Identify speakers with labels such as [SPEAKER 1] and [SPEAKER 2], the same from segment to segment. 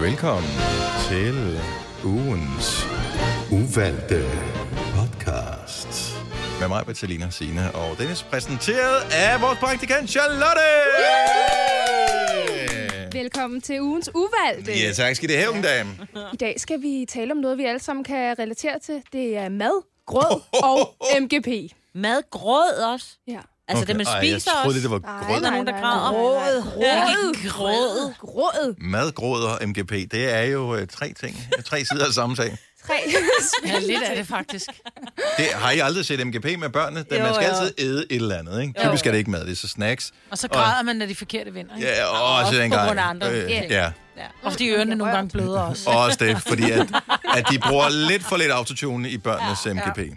[SPEAKER 1] Velkommen til ugens uvalgte podcast. Med mig, Bertalina Sina og Dennis, præsenteret af vores praktikant Charlotte!
[SPEAKER 2] Velkommen til ugens uvalgte.
[SPEAKER 1] Ja, tak skal det have, ja. dame.
[SPEAKER 2] I dag skal vi tale om noget, vi alle sammen kan relatere til. Det er mad, grød og MGP.
[SPEAKER 3] Mad grød også.
[SPEAKER 2] Ja.
[SPEAKER 3] Altså okay. det, man
[SPEAKER 1] Ej,
[SPEAKER 3] spiser
[SPEAKER 1] jeg troede,
[SPEAKER 3] også.
[SPEAKER 1] det, det var
[SPEAKER 2] Nej,
[SPEAKER 1] grød.
[SPEAKER 3] Der er nogen, der
[SPEAKER 2] nej,
[SPEAKER 3] græder.
[SPEAKER 2] Gråd,
[SPEAKER 3] Gråd.
[SPEAKER 2] gråd, gråd, gråd.
[SPEAKER 1] Madgråd og MGP, det er jo øh, tre ting. Tre sider af samme sag.
[SPEAKER 2] Tre.
[SPEAKER 4] Ja, lidt af det faktisk.
[SPEAKER 1] Det har I aldrig set MGP med børnene? Da
[SPEAKER 3] Jo,
[SPEAKER 1] man skal
[SPEAKER 3] jo.
[SPEAKER 1] altid æde et eller andet, ikke?
[SPEAKER 3] Jo.
[SPEAKER 1] Typisk er det ikke mad, det er så snacks.
[SPEAKER 4] Og så græder man, når de forkerte vinder. Ikke?
[SPEAKER 1] Ja, og også
[SPEAKER 3] på
[SPEAKER 1] dengang.
[SPEAKER 3] grund af andre
[SPEAKER 1] Øh,
[SPEAKER 3] ting.
[SPEAKER 1] ja.
[SPEAKER 3] Ja.
[SPEAKER 4] Og fordi ørerne nogle gange bløder også.
[SPEAKER 1] Og også det, fordi at, at de bruger lidt for lidt autotune i børnenes ja, MGP. Ja.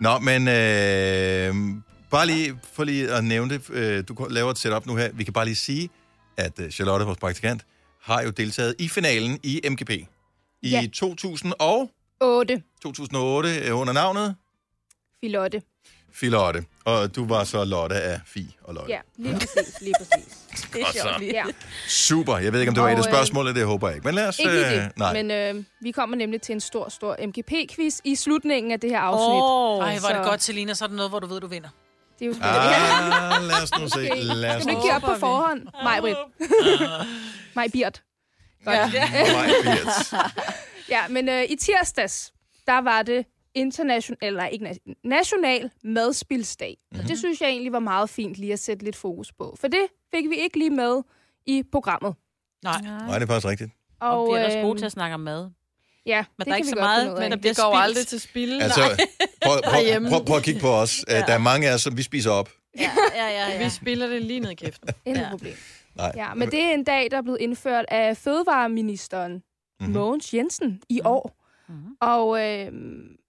[SPEAKER 1] Nå, men øh, bare lige for lige at nævne det, øh, du laver et setup nu her. Vi kan bare lige sige, at øh, Charlotte, vores praktikant, har jo deltaget i finalen i MGP i ja.
[SPEAKER 2] Ja.
[SPEAKER 1] 2000 og
[SPEAKER 2] Otte.
[SPEAKER 1] 2008 øh, under navnet
[SPEAKER 2] Filotte.
[SPEAKER 1] Filotte. Og du var så Lotte af Fi og Lotte.
[SPEAKER 2] Ja, lige præcis, lige præcis.
[SPEAKER 3] Det er
[SPEAKER 1] Og så-
[SPEAKER 3] sjovt lige.
[SPEAKER 2] Ja.
[SPEAKER 1] Super. Jeg ved ikke, om det var
[SPEAKER 2] Og,
[SPEAKER 1] et af
[SPEAKER 2] øh,
[SPEAKER 1] spørgsmålene, det håber jeg ikke. Men lad os...
[SPEAKER 2] Ikke lige det,
[SPEAKER 1] nej.
[SPEAKER 2] men øh, vi kommer nemlig til en stor, stor MGP-quiz i slutningen af det her afsnit. Oh.
[SPEAKER 3] Åh,
[SPEAKER 4] Ej, hvor er det
[SPEAKER 2] Så-
[SPEAKER 4] godt, Selina, så er det noget, hvor du ved, du vinder.
[SPEAKER 2] Det er jo spændende.
[SPEAKER 1] Ah, lad os nu se. Lad os
[SPEAKER 2] Skal du
[SPEAKER 1] nu
[SPEAKER 2] ikke give op på forhånd? Maj Britt.
[SPEAKER 1] Ah.
[SPEAKER 2] Maj Birt. Godt. Ja.
[SPEAKER 1] Maj Birch.
[SPEAKER 2] ja, men øh, i tirsdags, der var det international, eller ikke na- national madspilsdag.
[SPEAKER 5] Mhm.
[SPEAKER 2] Mm-hmm. Og det synes jeg egentlig var meget fint lige at sætte lidt fokus på. For det fik vi ikke lige med i programmet.
[SPEAKER 4] Nej.
[SPEAKER 1] Nej, det er faktisk rigtigt.
[SPEAKER 3] Og, og vi er
[SPEAKER 2] øh,
[SPEAKER 3] også gode til at snakke om mad.
[SPEAKER 2] Ja,
[SPEAKER 3] Men
[SPEAKER 2] det
[SPEAKER 3] der er
[SPEAKER 2] kan
[SPEAKER 3] ikke
[SPEAKER 2] vi
[SPEAKER 3] så
[SPEAKER 2] godt
[SPEAKER 3] meget,
[SPEAKER 2] finde ud af.
[SPEAKER 3] men der bliver
[SPEAKER 5] Det går
[SPEAKER 3] spildt.
[SPEAKER 5] aldrig til spilde.
[SPEAKER 1] Altså, prøv, prøv,
[SPEAKER 5] Derhjemme.
[SPEAKER 1] prøv, prøv at kigge på os. Ja. Der er mange af os, som vi spiser op.
[SPEAKER 3] Ja, ja, ja. ja.
[SPEAKER 5] Vi spiller det lige ned i kæften.
[SPEAKER 2] Intet
[SPEAKER 3] Ja.
[SPEAKER 2] problem.
[SPEAKER 1] Nej.
[SPEAKER 2] Ja, men det er en dag, der er blevet indført af fødevareministeren
[SPEAKER 5] Mhm.
[SPEAKER 2] mm-hmm. Mogens Jensen i år.
[SPEAKER 3] Mhm.
[SPEAKER 2] Mm-hmm. Og øh,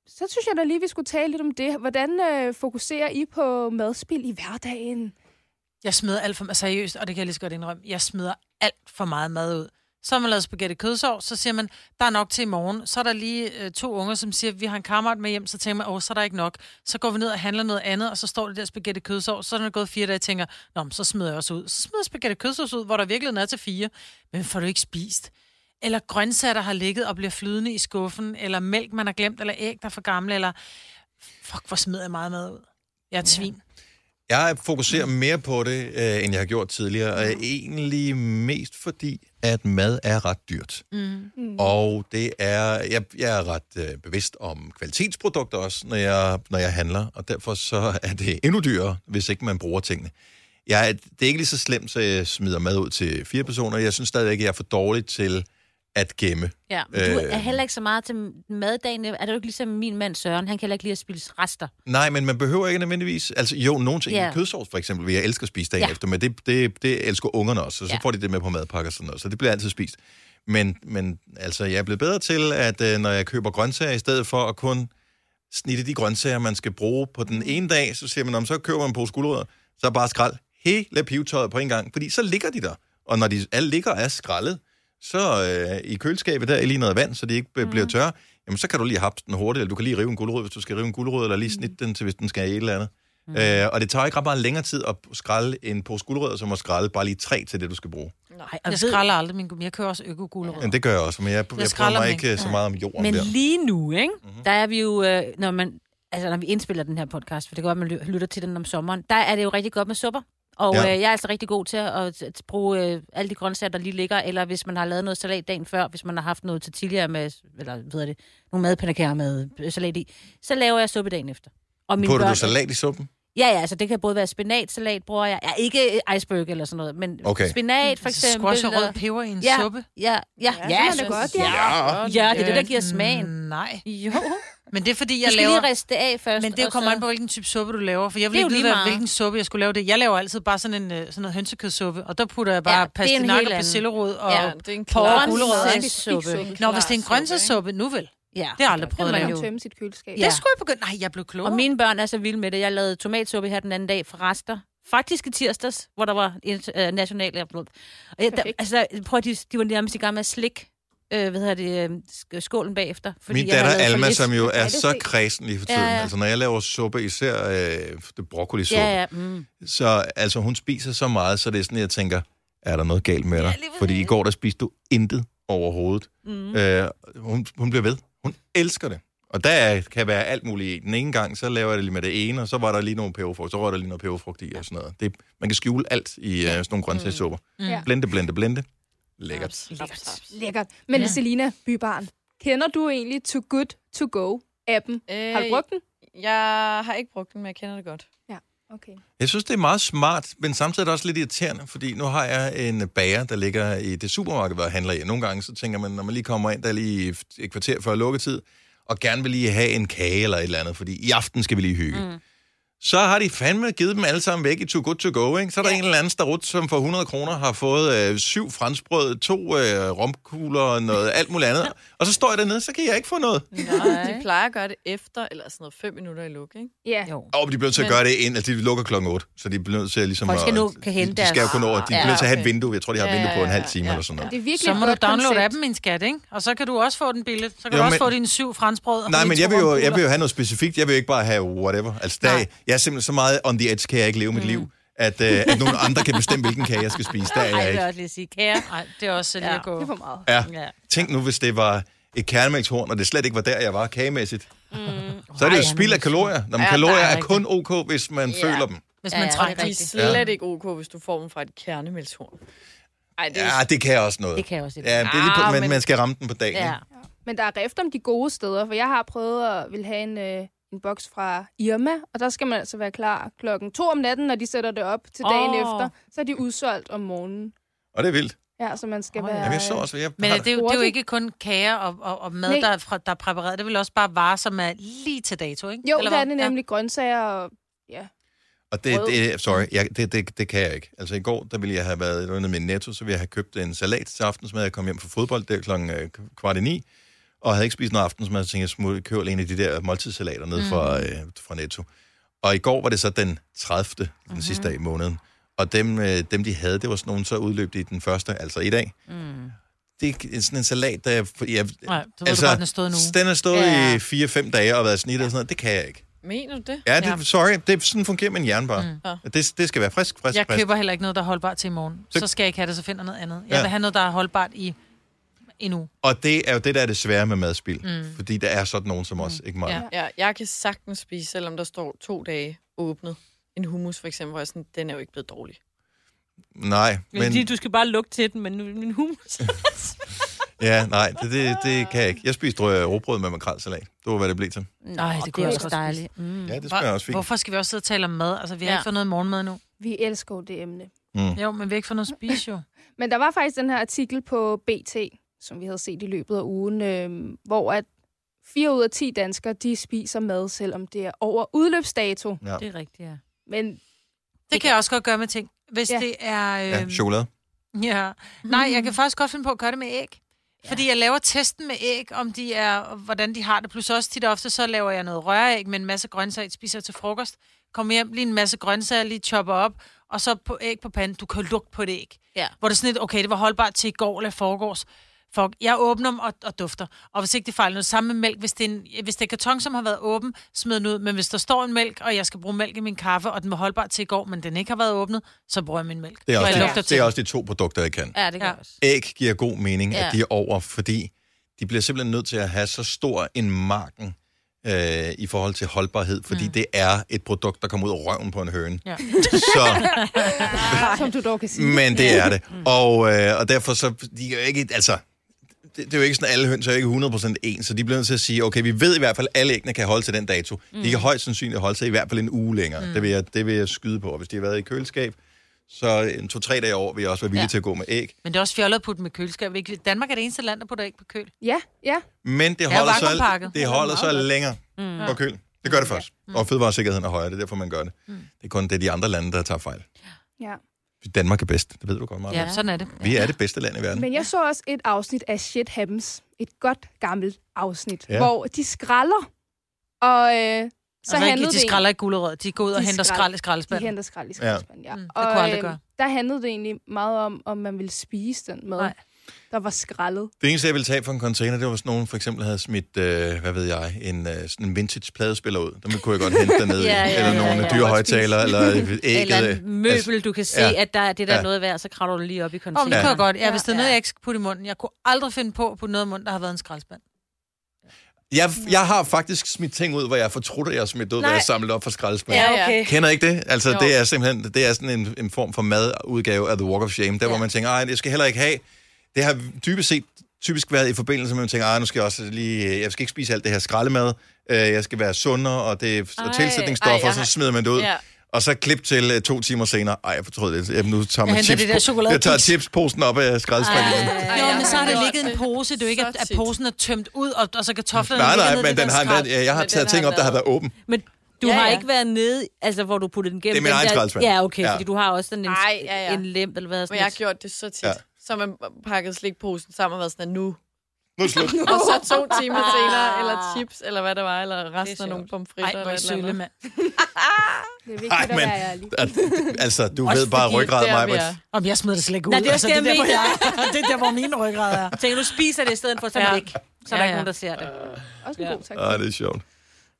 [SPEAKER 2] så synes jeg da lige, vi skulle tale lidt om det. Hvordan øh, fokuserer I på madspil i hverdagen?
[SPEAKER 4] Jeg smider alt for meget, seriøst, og det kan jeg lige så godt indrømme, jeg smider alt for meget mad ud. Så har man lavet spaghetti kødsovs, så siger man, der er nok til i morgen. Så er der lige øh, to unger, som siger, vi har en kammerat med hjem, så tænker man, åh, så er der ikke nok. Så går vi ned og handler noget andet, og så står det der spaghetti kødsovs, så er der gået fire dage, og tænker, nå, men så smider jeg også ud. Så smider jeg spaghetti kødsovs ud, hvor der virkelig er til fire, men får du ikke spist. Eller grøntsager, der har ligget og bliver flydende i skuffen, eller mælk, man har glemt, eller æg, der er for gamle, eller fuck, hvor smider jeg meget mad ud. Jeg er et svin.
[SPEAKER 1] Jeg fokuserer mere på det, øh, end jeg har gjort tidligere. Og egentlig mest fordi, at mad er ret dyrt. Mm. Og det er, jeg, jeg er ret øh, bevidst om kvalitetsprodukter også, når jeg, når jeg handler. Og derfor så er det endnu dyrere, hvis ikke man bruger tingene. Jeg, er- det er ikke lige så slemt, så jeg smider mad ud til fire personer. Jeg synes stadigvæk, at jeg er for dårlig til at gemme.
[SPEAKER 3] Ja, men du
[SPEAKER 1] Øh.
[SPEAKER 3] er heller ikke så meget til maddagen. Er det jo ikke ligesom min mand Søren? Han kan heller ikke lide at spise rester.
[SPEAKER 1] Nej, men man behøver ikke nødvendigvis... Altså jo, nogen ting. Yeah.
[SPEAKER 3] Ja.
[SPEAKER 1] Kødsovs for eksempel vil jeg elske at spise dagen yeah.
[SPEAKER 3] Ja.
[SPEAKER 1] efter, men det, det, det elsker ungerne også, så, så
[SPEAKER 3] Ja.
[SPEAKER 1] får de det med på madpakker og sådan noget, så det bliver altid spist. Men, men altså, jeg er blevet bedre til, at øh, når jeg køber grøntsager, i stedet for at kun snitte de grøntsager, man skal bruge på den ene dag, så siger man, om så køber man en pose gulerødder, så er bare skrald hele pivetøjet på en gang, fordi så ligger de der. Og når de alle ligger og er skraldet, så øh, i køleskabet der er lige noget vand, så de ikke mm. bliver tørre, jamen så kan du lige hapse den hurtigt, eller du kan lige rive en gulerod, hvis du skal rive en gulerod, eller lige snitte den til, hvis den skal i et eller andet. Mm. Øh, og det tager ikke ret meget længere tid at skralde en pose gulerødder, som at skralde bare lige tre til det, du skal bruge.
[SPEAKER 3] Nej,
[SPEAKER 4] Jeg skralder aldrig min gummi. Jeg kører også Altså, økogulerød.
[SPEAKER 1] Men det gør jeg også, men jeg, jeg, jeg prøver
[SPEAKER 4] skralder
[SPEAKER 1] mig
[SPEAKER 4] dem
[SPEAKER 1] ikke øh, så meget om jorden
[SPEAKER 3] Men
[SPEAKER 1] der. Mhm.
[SPEAKER 3] lige nu, ikke? Mm-hmm. Der er vi jo, øh, når man... Altså, når vi indspiller den her podcast, for det kan godt, at man lytter til den om sommeren, der er det jo rigtig godt med supper. Og
[SPEAKER 1] Ja.
[SPEAKER 3] ja. øh, jeg er altså rigtig god til at, at bruge øh, alle de grøntsager, der lige ligger, eller hvis man har lavet noget salat dagen før, hvis man har haft noget til tidligere med, eller hvad hedder det, nogle madpandekager med øh, salat i, så laver jeg suppe dagen efter. Og mine
[SPEAKER 1] Putter
[SPEAKER 3] børn-
[SPEAKER 1] du salat i suppen?
[SPEAKER 3] Ja, ja, altså det kan både være spinatsalat, bruger jeg. Ja, ikke øh, iceberg eller sådan noget, men
[SPEAKER 1] Okay.
[SPEAKER 3] okay. spinat for eksempel.
[SPEAKER 4] Squash og rød
[SPEAKER 3] eller-
[SPEAKER 4] peber i en
[SPEAKER 3] ja,
[SPEAKER 4] suppe.
[SPEAKER 3] Ja, ja, ja.
[SPEAKER 2] det smager da godt, ja.
[SPEAKER 1] Ja.
[SPEAKER 3] Ja, det er det, der giver smagen.
[SPEAKER 4] Øh, Nej.
[SPEAKER 3] Jo.
[SPEAKER 4] Men det er fordi,
[SPEAKER 3] Jeg
[SPEAKER 4] jeg
[SPEAKER 3] skal
[SPEAKER 4] laver...
[SPEAKER 3] lige riste det af først.
[SPEAKER 4] Men det
[SPEAKER 3] og
[SPEAKER 4] kommer
[SPEAKER 3] så-
[SPEAKER 4] an på, hvilken type suppe du laver. For jeg vil
[SPEAKER 3] Det er
[SPEAKER 4] ikke
[SPEAKER 3] jo
[SPEAKER 4] vide,
[SPEAKER 3] lige
[SPEAKER 4] hvad,
[SPEAKER 3] meget.
[SPEAKER 4] hvilken suppe jeg skulle lave det. Jeg laver altid bare sådan en øh, sådan noget hønsekødssuppe, og der putter jeg bare
[SPEAKER 3] Ja,
[SPEAKER 4] ja,
[SPEAKER 3] det er en helt
[SPEAKER 4] pastinak og
[SPEAKER 3] anden.
[SPEAKER 4] persillerod. Og...
[SPEAKER 3] Ja.
[SPEAKER 4] Ja.
[SPEAKER 5] Det er en
[SPEAKER 4] Porre
[SPEAKER 5] klar
[SPEAKER 4] og gulerødder.
[SPEAKER 3] Grøntsagssuppe.
[SPEAKER 4] Nå, hvis det er en grøntsagssuppe, nu vel.
[SPEAKER 3] Ja.
[SPEAKER 4] Det har jeg aldrig
[SPEAKER 2] Kan
[SPEAKER 4] prøvet at
[SPEAKER 2] man
[SPEAKER 4] lave.
[SPEAKER 2] jo tømme sit køleskab?
[SPEAKER 3] Ja.
[SPEAKER 4] Det skulle jeg begynde. Nej, jeg blev klogere.
[SPEAKER 3] Og mine børn er så vilde med det. Jeg lavede tomatsuppe her den anden dag fra rester. Faktisk i tirsdags, hvor der var inter- øh, national upload. Og jeg, der,
[SPEAKER 2] Perfekt.
[SPEAKER 3] altså, prøv at de, de var nærmest i gang med at slikke øh, hvad hedder det, øh, sk- skålen bagefter. Fordi
[SPEAKER 1] Min
[SPEAKER 3] jeg havde
[SPEAKER 1] datter
[SPEAKER 3] lavet for
[SPEAKER 1] Alma,
[SPEAKER 3] lidt.
[SPEAKER 1] som jo er
[SPEAKER 2] det
[SPEAKER 1] så
[SPEAKER 2] se.
[SPEAKER 1] kredsen lige for
[SPEAKER 3] Ja,
[SPEAKER 1] tiden, ja, ja.
[SPEAKER 3] ja.
[SPEAKER 1] altså når jeg laver suppe, især øh, det broccolisuppe,
[SPEAKER 3] Ja, ja. Mm.
[SPEAKER 1] så altså, hun spiser så meget, så det er sådan, jeg tænker, er der noget galt med dig? Fordi i går, der spiste du intet overhovedet.
[SPEAKER 3] Mm.
[SPEAKER 1] Øh, hun, hun bliver ved. Hun elsker det. Og der er- kan være alt muligt i. Den ene gang, så laver jeg det lige med det ene, og så var der lige nogle peberfrugt, så var der lige noget peberfrugt i og sådan noget. Det, man kan skjule alt i øh, sådan nogle grøntsagssupper.
[SPEAKER 4] Mm.
[SPEAKER 2] Ja.
[SPEAKER 1] Blende, blende, blende. Lækkert.
[SPEAKER 3] Lækkert.
[SPEAKER 2] Lækkert. Men
[SPEAKER 4] Ja.
[SPEAKER 2] ja. Selina, bybarn, kender du egentlig Too Good To Go-appen?
[SPEAKER 5] Øh,
[SPEAKER 2] Har du brugt den?
[SPEAKER 5] Jeg har ikke brugt den, men jeg kender det godt.
[SPEAKER 2] Okay.
[SPEAKER 1] Jeg synes, det er meget smart, men samtidig er det også lidt irriterende, fordi nu har jeg en bager, der ligger i det supermarked, hvor jeg handler i. Nogle gange så tænker man, når man lige kommer ind, der er lige et kvarter før lukketid, og gerne vil lige have en kage eller et eller andet, fordi i aften skal vi lige hygge. Mm. Så har de fandme givet dem alle sammen væk i Too Good To Go, ikke? Så er der ja. en eller anden starut, som for 100 kroner har fået øh, syv franskbrød, to øh, romkugler og noget, alt muligt andet. Og så står jeg dernede, så kan jeg ikke få noget.
[SPEAKER 5] De plejer at gøre det efter, eller sådan noget, fem minutter i luk, ikke?
[SPEAKER 2] Ja.
[SPEAKER 3] Jo.
[SPEAKER 1] Og de bliver nødt til at
[SPEAKER 5] Men-
[SPEAKER 1] gøre det ind, altså de lukker klokken 8, så de bliver nødt til at ligesom...
[SPEAKER 3] Folk skal
[SPEAKER 1] at-
[SPEAKER 3] nu kan hente
[SPEAKER 1] de, de skal jo
[SPEAKER 3] deres-
[SPEAKER 1] kun over, de bliver
[SPEAKER 5] Ja,
[SPEAKER 1] nødt til at have et
[SPEAKER 5] okay.
[SPEAKER 1] vindue, jeg tror, de har et vindue på en
[SPEAKER 5] Ja,
[SPEAKER 1] halv time
[SPEAKER 5] ja,
[SPEAKER 1] eller sådan noget.
[SPEAKER 2] Det er virkelig
[SPEAKER 4] Så må du
[SPEAKER 2] et godt
[SPEAKER 4] downloade
[SPEAKER 2] koncept.
[SPEAKER 4] appen, min skat, ikke? Og så kan du også få den billig. Så kan
[SPEAKER 1] Jo,
[SPEAKER 4] jo, du også
[SPEAKER 1] men-
[SPEAKER 4] få dine syv franskbrød. og
[SPEAKER 1] Nej,
[SPEAKER 4] dine
[SPEAKER 1] men
[SPEAKER 4] to
[SPEAKER 1] jeg vil, jo,
[SPEAKER 4] romkugler.
[SPEAKER 1] jeg vil jo have noget specifikt, jeg vil jo ikke bare have whatever. Altså, der, er-
[SPEAKER 4] Nej.
[SPEAKER 1] jeg er simpelthen så meget on the edge, kan jeg ikke leve mit liv, at, øh, at nogen andre kan bestemme, hvilken kage jeg skal spise. Der
[SPEAKER 3] Ej,
[SPEAKER 1] er jeg
[SPEAKER 3] jeg vil
[SPEAKER 1] ikke.
[SPEAKER 3] også lige sige, kære.
[SPEAKER 4] Nej, det er også lige
[SPEAKER 3] Ja.
[SPEAKER 4] at gå.
[SPEAKER 2] Det er for meget.
[SPEAKER 1] Ja.
[SPEAKER 3] Ja.
[SPEAKER 1] Tænk nu, hvis det var et kernemælkshorn, og det slet ikke var der, jeg var kagemæssigt. Så er det jo spild af kalorier. Når man,
[SPEAKER 5] Ja,
[SPEAKER 1] kalorier
[SPEAKER 5] der er
[SPEAKER 1] er kun ok, hvis man
[SPEAKER 5] Ja.
[SPEAKER 1] føler dem.
[SPEAKER 4] Hvis
[SPEAKER 3] Ja,
[SPEAKER 4] man
[SPEAKER 3] ja, det
[SPEAKER 4] trænger
[SPEAKER 3] er
[SPEAKER 5] De er
[SPEAKER 3] rigtigt.
[SPEAKER 5] slet ikke ok, hvis du får dem fra et kernemælshorn. Ej, det er
[SPEAKER 1] Ja, det kan jeg også noget.
[SPEAKER 3] Det kan jeg også.
[SPEAKER 1] Ja, det er lige på,
[SPEAKER 5] Ah,
[SPEAKER 1] men
[SPEAKER 5] men-
[SPEAKER 1] man skal ramme den på dagen.
[SPEAKER 3] Ja.
[SPEAKER 1] ikke?
[SPEAKER 2] Men der er rift om de gode steder, for jeg har prøvet at vil have en, øh, en boks fra Irma, og der skal man altså være klar klokken to om natten, når de sætter det op til dagen
[SPEAKER 4] Åh.
[SPEAKER 2] efter. Så er de udsolgt om morgenen.
[SPEAKER 1] Og det er vildt.
[SPEAKER 2] Ja, så man skal
[SPEAKER 3] Åh,
[SPEAKER 2] oh,
[SPEAKER 3] ja.
[SPEAKER 2] være...
[SPEAKER 1] Jamen, jeg så også, jeg
[SPEAKER 4] Men
[SPEAKER 1] har-
[SPEAKER 4] er det, er jo- det er jo
[SPEAKER 2] Hurtigt.
[SPEAKER 4] ikke kun kager og, og, og mad,
[SPEAKER 2] Nej.
[SPEAKER 4] der er, fra, der er præpareret. Det er vel også bare varer, som er lige til dato, ikke?
[SPEAKER 2] Jo, der er
[SPEAKER 4] hvad?
[SPEAKER 2] det
[SPEAKER 4] Ja.
[SPEAKER 2] nemlig ja. grøntsager og... Ja.
[SPEAKER 1] Og det,
[SPEAKER 2] Brød.
[SPEAKER 1] det sorry, jeg, det, det, det kan jeg ikke. Altså i går, der ville jeg have været under min netto, så ville jeg have købt en salat til aftensmad. Jeg kom hjem fra fodbold der klokken øh, kvart i ni, og havde ikke spist noget aftensmad, så tænkte jeg, smut, køber en af de der måltidssalater ned fra, øh, fra netto. Og i går var det så den 30. den sidste dag i måneden. Og dem, øh, dem, de havde, det var sådan nogle, så udløb de i den første, altså i dag. Mm. Det er ikke sådan en salat, der... Jeg, jeg,
[SPEAKER 4] Nej, du ved altså, godt, den er stået nu.
[SPEAKER 1] den er stået
[SPEAKER 3] Ja.
[SPEAKER 1] i 4-5 dage og været snittet og sådan noget. Det kan jeg ikke.
[SPEAKER 5] Mener du det?
[SPEAKER 1] Ja, det,
[SPEAKER 4] Ja.
[SPEAKER 1] sorry, det, sådan fungerer min hjerne bare. Mm. Det, det skal være frisk, frisk,
[SPEAKER 4] Jeg
[SPEAKER 1] frisk.
[SPEAKER 4] køber heller ikke noget, der er holdbart til i morgen.
[SPEAKER 1] Så-
[SPEAKER 4] Så skal jeg ikke have det, så finder jeg noget andet.
[SPEAKER 1] Ja.
[SPEAKER 4] Jeg vil have noget, der er holdbart i en uge.
[SPEAKER 1] Og det er jo det, der er det svære med madspil. Mm. Fordi der er sådan nogen som os, ikke mig. Ja.
[SPEAKER 4] Ja.
[SPEAKER 5] Ja, jeg kan sagtens spise, selvom der står to dage åbnet. En hummus for eksempel, hvor jeg er sådan, den er jo ikke blevet dårlig.
[SPEAKER 1] Nej, men...
[SPEAKER 3] du skal bare lugte til den, men min hummus...
[SPEAKER 1] Ja, nej, det, det, det kan jeg ikke. Jeg spiste øh, råbrød med makrelsalat. Det var, hvad det blev til.
[SPEAKER 4] Nej, det kunne
[SPEAKER 3] er
[SPEAKER 4] jeg
[SPEAKER 3] også
[SPEAKER 4] også godt
[SPEAKER 3] dejligt. Mm.
[SPEAKER 1] Ja, det smager også fint.
[SPEAKER 4] Hvorfor skal vi også sidde og tale om mad? Altså, vi har
[SPEAKER 5] Ja.
[SPEAKER 4] ikke fået noget morgenmad nu.
[SPEAKER 2] Vi elsker jo det emne.
[SPEAKER 1] Mm.
[SPEAKER 4] Jo, men vi har ikke fået noget at spise, jo.
[SPEAKER 2] Men der var faktisk den her artikel på BT, som vi havde set i løbet af ugen, øh, hvor at 4 ud af 10 danskere, de spiser mad, selvom det er over udløbsdato.
[SPEAKER 3] Det er rigtigt, ja.
[SPEAKER 2] Men
[SPEAKER 4] Det kan jeg også godt gøre med ting. Hvis
[SPEAKER 2] Ja.
[SPEAKER 4] det er... Øh,
[SPEAKER 1] Ja, chokolade.
[SPEAKER 4] Ja. Nej, jeg kan faktisk godt finde på at gøre det med æg. Fordi jeg laver testen med æg, om de er, hvordan de har det. Plus også tit og ofte, så laver jeg noget røræg med en masse grøntsager, spiser jeg til frokost. Kommer hjem, lige en masse grøntsager, lige chopper op, og så på æg på panden. Du kan lugte på det æg.
[SPEAKER 3] Ja.
[SPEAKER 4] Hvor det er sådan lidt, okay, det var holdbart til i går eller foregårs. Fuck, jeg åbner dem og, og dufter. Og hvis ikke det fejler noget, samme med mælk. Hvis det, er en, hvis det er karton, som har været åben, smid den ud. Men hvis der står en mælk, og jeg skal bruge mælk i min kaffe, og den var holdbar til i går, men den ikke har været åbnet, så bruger jeg min mælk.
[SPEAKER 1] Det er,
[SPEAKER 4] Og jeg
[SPEAKER 1] også
[SPEAKER 4] lugter
[SPEAKER 1] de,
[SPEAKER 4] til
[SPEAKER 1] det er også de to produkter, jeg kan.
[SPEAKER 3] Ja, det kan
[SPEAKER 4] Ja.
[SPEAKER 3] jeg også.
[SPEAKER 1] Æg giver god mening, ja.
[SPEAKER 3] Ja.
[SPEAKER 1] at de er over, fordi de bliver simpelthen nødt til at have så stor en marken øh, i forhold til holdbarhed, fordi mm. det er et produkt, der kommer ud af røven på en høne.
[SPEAKER 4] Ja.
[SPEAKER 1] Så
[SPEAKER 2] som du dog kan sige.
[SPEAKER 1] Men det er det. Og, øh, og derfor så, de er jo ikke, altså, det, det er jo ikke sådan, at alle høns er jo ikke 100% ens, så de bliver nødt til at sige, okay, vi ved i hvert fald, at alle æggene kan holde til den dato. Mm. De kan højst sandsynligt holde sig i hvert fald en uge længere. Mm. Det, vil jeg, det vil jeg skyde på. Og hvis de har været i køleskab, så en to-tre dage over vil jeg også være villig ja.
[SPEAKER 3] Ja.
[SPEAKER 1] til at gå med æg.
[SPEAKER 4] Men det er også fjollet at putte dem i køleskab. Ikke? Danmark er det eneste land, der putter æg på køl.
[SPEAKER 2] Ja, ja.
[SPEAKER 1] Men det
[SPEAKER 4] Ja,
[SPEAKER 1] holder, så,
[SPEAKER 4] vakuumpakket.
[SPEAKER 1] det holder så længere mm. på køl. Det gør det først. Mm. Og fødevaresikkerheden er højere, det er derfor, man gør det. Mm. Det er kun det, de andre lande, der tager fejl.
[SPEAKER 2] ja.
[SPEAKER 1] Danmark er bedst, det ved du godt meget.
[SPEAKER 4] Ja,
[SPEAKER 1] Ja.
[SPEAKER 4] ja. sådan er det.
[SPEAKER 1] Vi er det bedste land i verden.
[SPEAKER 2] Men jeg så også et afsnit af Shit Happens. Et godt gammelt afsnit,
[SPEAKER 1] Ja.
[SPEAKER 2] ja. hvor de skralder. Og øh, så
[SPEAKER 4] Så altså, ikke,
[SPEAKER 2] handlede
[SPEAKER 4] de
[SPEAKER 2] det
[SPEAKER 4] skralder ikke gulerød. De går ud og
[SPEAKER 2] De
[SPEAKER 4] henter
[SPEAKER 2] skrald-
[SPEAKER 4] skrald i
[SPEAKER 2] De
[SPEAKER 4] skraldespanden.
[SPEAKER 2] henter skrald i
[SPEAKER 1] Ja.
[SPEAKER 2] skraldespanden, ja. ja.
[SPEAKER 4] Mm, det
[SPEAKER 2] og, øh,
[SPEAKER 4] kunne jeg aldrig gøre.
[SPEAKER 2] der handlede det egentlig meget om, om man ville spise den mad.
[SPEAKER 4] Nej.
[SPEAKER 2] der var skrællet.
[SPEAKER 1] Det eneste, jeg ville tage for en container, det var sådan nogen, for eksempel havde smidt, øh, hvad ved jeg, en, øh, sådan en vintage pladespiller ud. Dem kunne jeg godt hente dernede.
[SPEAKER 3] Ja,
[SPEAKER 1] ja,
[SPEAKER 3] ja,
[SPEAKER 1] ja, eller
[SPEAKER 3] ja,
[SPEAKER 1] nogle
[SPEAKER 3] ja.
[SPEAKER 1] dyre højtalere, eller ægget. Altså,
[SPEAKER 3] Eller en møbel, du kan se,
[SPEAKER 1] ja.
[SPEAKER 3] at der, er- det der er
[SPEAKER 1] Ja.
[SPEAKER 3] noget værd, så kravler du lige op i
[SPEAKER 4] Om det
[SPEAKER 3] containeren.
[SPEAKER 4] kunne jeg godt. Ja, hvis det er noget,
[SPEAKER 3] Ja.
[SPEAKER 4] jeg ikke skal putte i munden. Jeg kunne aldrig finde på at putte noget i munden, der har været en skraldespand.
[SPEAKER 1] Jeg, jeg har faktisk smidt ting ud, hvor jeg fortrudt, at jeg har smidt ud, hvad
[SPEAKER 3] Nej.
[SPEAKER 1] jeg samlet op fra skraldespanden.
[SPEAKER 5] Ja,
[SPEAKER 1] Ja.
[SPEAKER 5] okay.
[SPEAKER 1] Kender I ikke det? Altså,
[SPEAKER 5] Jo.
[SPEAKER 1] det er simpelthen det er sådan en, en form for madudgave af The Walk of Shame, der ja. hvor
[SPEAKER 3] Ja.
[SPEAKER 1] man tænker, nej, det skal jeg heller ikke have. Det har dybest set typisk været i forbindelse med, at man tænker, "Ej, nu skal jeg også lige, jeg skal ikke spise alt det her skraldemad, øh, jeg skal være sundere, og det er og
[SPEAKER 5] Ej,
[SPEAKER 1] tilsætningsstoffer,
[SPEAKER 5] ej, jeg
[SPEAKER 1] og så
[SPEAKER 5] har-
[SPEAKER 1] smider man det ud.
[SPEAKER 5] Ja.
[SPEAKER 1] Og så klip til øh, to timer senere. Ej, jeg fortrød det. Jamen, nu tager man
[SPEAKER 4] henter det der
[SPEAKER 1] chips.
[SPEAKER 4] chokoladekiks.
[SPEAKER 1] jeg tager chipsposen op af skraldespanden igen.
[SPEAKER 5] Ej,
[SPEAKER 4] Jo,
[SPEAKER 5] jeg
[SPEAKER 4] men så har
[SPEAKER 5] har
[SPEAKER 4] der
[SPEAKER 5] gjort
[SPEAKER 4] ligget en
[SPEAKER 5] det
[SPEAKER 4] pose. Det er jo ikke, at,
[SPEAKER 5] så
[SPEAKER 4] at
[SPEAKER 5] tit.
[SPEAKER 4] posen er tømt ud, og, og så kartoflerne
[SPEAKER 1] Nej,
[SPEAKER 4] ligger
[SPEAKER 1] nej,
[SPEAKER 4] nede i
[SPEAKER 1] men den har
[SPEAKER 4] skrald.
[SPEAKER 1] endda, jeg har
[SPEAKER 5] Men
[SPEAKER 1] taget
[SPEAKER 5] den
[SPEAKER 1] ting
[SPEAKER 5] har
[SPEAKER 1] op, der har
[SPEAKER 5] været-
[SPEAKER 1] været åben.
[SPEAKER 3] Men du
[SPEAKER 5] Ja,
[SPEAKER 3] ja, har
[SPEAKER 5] ja.
[SPEAKER 3] ikke været nede, altså hvor du puttede den gennem.
[SPEAKER 1] Det er min
[SPEAKER 3] den
[SPEAKER 1] egen
[SPEAKER 3] der-
[SPEAKER 1] skraldespand.
[SPEAKER 3] Ja, okay,
[SPEAKER 1] Ja.
[SPEAKER 3] ja. fordi du har også sådan en,
[SPEAKER 5] Ej, ja, ja.
[SPEAKER 3] en lem, eller hvad
[SPEAKER 5] Men
[SPEAKER 3] sådan
[SPEAKER 5] jeg har
[SPEAKER 3] et-
[SPEAKER 5] gjort det så tit.
[SPEAKER 1] Ja.
[SPEAKER 5] Ja. Så har man pakket slikposen sammen og været sådan, at nu.
[SPEAKER 1] Nu er det slut.
[SPEAKER 5] Og så to timer senere, eller chips, eller hvad det var, eller resten af nogle
[SPEAKER 4] Ej,
[SPEAKER 5] pomfritter.
[SPEAKER 4] hvor er I
[SPEAKER 5] eller et eller
[SPEAKER 4] sølle,
[SPEAKER 5] andet.
[SPEAKER 4] mand.
[SPEAKER 2] Det er vigtigt
[SPEAKER 1] Ej,
[SPEAKER 2] at
[SPEAKER 1] men-
[SPEAKER 2] være ærlig.
[SPEAKER 1] At- Altså, du
[SPEAKER 4] Også
[SPEAKER 1] ved bare
[SPEAKER 4] fordi
[SPEAKER 1] ryggrad
[SPEAKER 5] Der,
[SPEAKER 1] mig.
[SPEAKER 5] vi
[SPEAKER 1] men-
[SPEAKER 5] er.
[SPEAKER 4] Om jeg smider det slet ikke ud. Altså,
[SPEAKER 3] Nej, det er også det, jeg
[SPEAKER 4] det, er derfor, jeg, det er der, hvor mine ryggrad er.
[SPEAKER 3] Tænker, du spiser det i stedet for, så er
[SPEAKER 4] Ja.
[SPEAKER 3] det ikke. Så er der
[SPEAKER 4] Ja,
[SPEAKER 3] ikke
[SPEAKER 4] ja.
[SPEAKER 3] nogen, der ser det.
[SPEAKER 2] Også en
[SPEAKER 3] Ja.
[SPEAKER 2] god tak.
[SPEAKER 1] Ej, det er sjovt.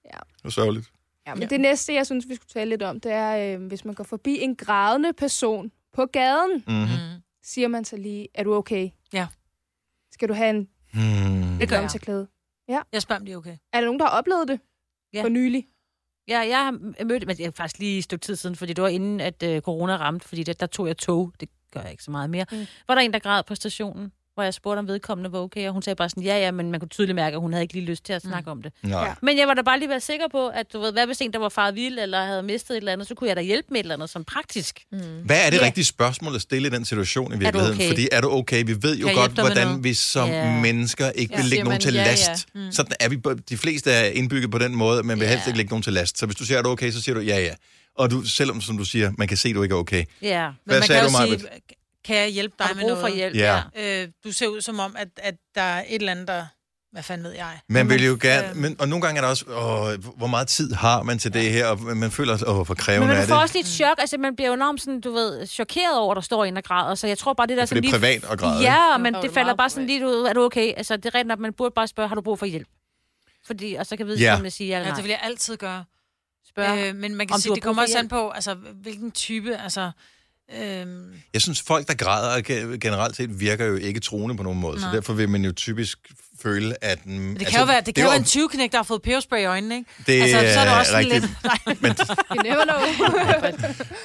[SPEAKER 2] Ja.
[SPEAKER 1] Det er sørgeligt.
[SPEAKER 2] Ja, men det næste, jeg synes, vi skulle tale lidt om, det er, øh, hvis man går forbi en grædende person på gaden,
[SPEAKER 1] Mm-hmm.
[SPEAKER 4] Mm.
[SPEAKER 2] siger man så lige, er du okay?
[SPEAKER 4] Ja.
[SPEAKER 2] Skal du have en
[SPEAKER 1] Hmm.
[SPEAKER 4] Det gør jeg.
[SPEAKER 2] lomteklæde?
[SPEAKER 4] Jeg spørger, om de er okay.
[SPEAKER 2] Er der nogen, der har oplevet det
[SPEAKER 3] Ja.
[SPEAKER 2] for nylig?
[SPEAKER 3] Ja, jeg har mødt, men det er faktisk lige et stykke tid siden, fordi det var inden, at øh, corona ramte, fordi der, der tog jeg tog, det gør jeg ikke så meget mere.
[SPEAKER 2] Mm.
[SPEAKER 3] Mm. Var der en, der græd på stationen, hvor jeg spurgte, om vedkommende var okay, og hun sagde bare sådan, ja, ja, men man kunne tydeligt mærke, at hun havde ikke lige lyst til at snakke mm. om det.
[SPEAKER 1] Hmm. Nej.
[SPEAKER 2] Ja.
[SPEAKER 3] Men jeg var da bare lige være sikker på, at du ved, hvad hvis en, der var faret vild, eller havde mistet et eller andet, så kunne jeg da hjælpe med et eller andet sådan praktisk.
[SPEAKER 5] Mm.
[SPEAKER 1] Hvad er det
[SPEAKER 3] Ja.
[SPEAKER 1] rigtige spørgsmål at stille i den situation i virkeligheden?
[SPEAKER 3] okay?
[SPEAKER 1] Fordi er du okay? Vi ved jo
[SPEAKER 4] Kan jeg
[SPEAKER 1] godt,
[SPEAKER 4] hjælpe dig med
[SPEAKER 1] hvordan
[SPEAKER 4] noget?
[SPEAKER 1] vi som
[SPEAKER 3] Ja.
[SPEAKER 1] mennesker ikke
[SPEAKER 5] Ja.
[SPEAKER 1] vil lægge
[SPEAKER 5] Siger
[SPEAKER 1] nogen
[SPEAKER 5] man
[SPEAKER 1] til
[SPEAKER 5] ja, ja.
[SPEAKER 1] last. Sådan er vi. på- De fleste er indbygget på den måde, men vil helst
[SPEAKER 3] Ja.
[SPEAKER 1] ikke lægge nogen til last. Så hvis du siger, er du okay, så siger du ja, ja. Og du, selvom, som du siger, man kan se, du ikke er okay.
[SPEAKER 3] Ja.
[SPEAKER 4] Men man
[SPEAKER 1] sagde
[SPEAKER 4] kan
[SPEAKER 1] du,
[SPEAKER 4] jo
[SPEAKER 1] Maj-Brit?
[SPEAKER 4] sige, kan jeg hjælpe dig
[SPEAKER 3] Har du
[SPEAKER 4] med
[SPEAKER 3] brug for
[SPEAKER 4] noget?
[SPEAKER 3] hjælp?
[SPEAKER 1] Ja.
[SPEAKER 4] Øh, du ser ud som om, at, at der er et eller andet, der... Hvad fanden ved jeg?
[SPEAKER 1] Man vil jo
[SPEAKER 4] Øh,
[SPEAKER 1] gerne, men, og nogle gange er der også, åh, hvor meget tid har man til det her, og man føler, åh, hvor
[SPEAKER 3] Men
[SPEAKER 1] krævende er
[SPEAKER 3] man
[SPEAKER 1] det.
[SPEAKER 3] får også lidt chok, altså man bliver jo enormt sådan, du ved, chokeret over, at der står en og græder, så jeg tror bare, det der
[SPEAKER 1] For det er privat og græde. ikke?
[SPEAKER 3] Ja,
[SPEAKER 5] Jo,
[SPEAKER 3] men
[SPEAKER 5] det er
[SPEAKER 3] det falder
[SPEAKER 5] meget
[SPEAKER 3] bare sådan
[SPEAKER 5] privat.
[SPEAKER 3] lidt ud. Er du okay? Altså, det er rent nok, man burde bare spørge, har du brug for hjælp? Fordi, og så kan vedkommende sige ja
[SPEAKER 4] Ja,
[SPEAKER 3] eller
[SPEAKER 4] det
[SPEAKER 3] nej.
[SPEAKER 4] vil jeg altid gøre.
[SPEAKER 3] Spørge.
[SPEAKER 4] Øh, men man
[SPEAKER 3] om
[SPEAKER 4] kan
[SPEAKER 3] du
[SPEAKER 4] sige,
[SPEAKER 3] har
[SPEAKER 4] det
[SPEAKER 3] brug
[SPEAKER 4] kommer
[SPEAKER 3] for
[SPEAKER 4] også an på, altså, hvilken type, altså... Øhm,
[SPEAKER 1] Jeg synes, folk, der græder ge- generelt set, virker jo ikke troende på nogen måde. Nej. Så
[SPEAKER 4] Nej.
[SPEAKER 1] derfor vil man jo typisk føle, at... Mm,
[SPEAKER 4] det kan jo være, det kan jo være en 20 der har fået peberspray i øjnene, ikke?
[SPEAKER 1] Det
[SPEAKER 4] altså, så er det
[SPEAKER 1] er
[SPEAKER 4] også sådan
[SPEAKER 1] rigtigt.
[SPEAKER 4] lidt... Nej,
[SPEAKER 2] You never know.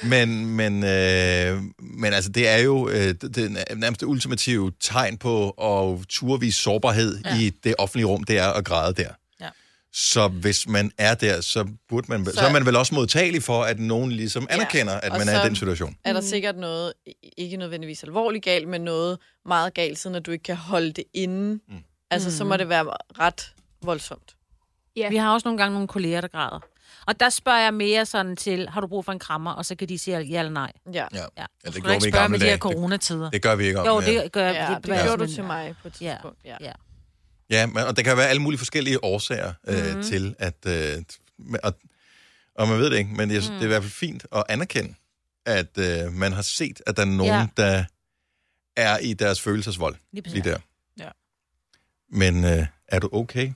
[SPEAKER 1] Men, men, øh, men altså, det er jo øh, det, det nærmest det ultimative tegn på at turvise sårbarhed ja. i det offentlige rum, det er at græde der.
[SPEAKER 4] Ja.
[SPEAKER 1] Så hvis man er der, så, burde man, så,
[SPEAKER 5] Så-
[SPEAKER 1] så er man vel også modtagelig for, at nogen ligesom
[SPEAKER 5] Ja,
[SPEAKER 1] anerkender, ja. at
[SPEAKER 5] og
[SPEAKER 1] man er i
[SPEAKER 5] så-
[SPEAKER 1] den situation.
[SPEAKER 2] Mm.
[SPEAKER 5] er der sikkert noget, i- ikke nødvendigvis alvorligt galt, men noget meget galt, sådan at du ikke kan holde det inde. Mm. Altså, så må det være ret voldsomt.
[SPEAKER 2] Ja.
[SPEAKER 3] Vi har også nogle gange nogle kolleger, der græder. Og der spørger jeg mere sådan til, har du brug for en krammer? Og så kan de sige ja eller nej.
[SPEAKER 5] Ja.
[SPEAKER 1] Ja,
[SPEAKER 3] Ja.
[SPEAKER 1] ja det
[SPEAKER 4] du kan
[SPEAKER 1] gjorde vi
[SPEAKER 4] ikke
[SPEAKER 1] i
[SPEAKER 4] spørge
[SPEAKER 1] gamle
[SPEAKER 4] med de her
[SPEAKER 1] dage. Det,
[SPEAKER 4] coronatider.
[SPEAKER 1] det gør vi ikke om.
[SPEAKER 3] Jo,
[SPEAKER 1] ja.
[SPEAKER 3] det gør
[SPEAKER 5] Ja, det
[SPEAKER 3] var
[SPEAKER 5] gjorde du
[SPEAKER 3] sådan-
[SPEAKER 5] til mig på et
[SPEAKER 3] Ja.
[SPEAKER 5] tidspunkt. Ja.
[SPEAKER 3] Ja.
[SPEAKER 1] Ja, men, og der kan være alle mulige forskellige årsager øh, mm-hmm. til, at... Øh, men- og, og man ved det ikke, men jeg, mm. det er i hvert fald fint at anerkende, at øh, man har set, at der er nogen, ja.
[SPEAKER 3] Ja.
[SPEAKER 1] der er i deres følelsesvold
[SPEAKER 3] Lige præcis.
[SPEAKER 1] lige der.
[SPEAKER 4] Ja.
[SPEAKER 1] Men øh, er du okay?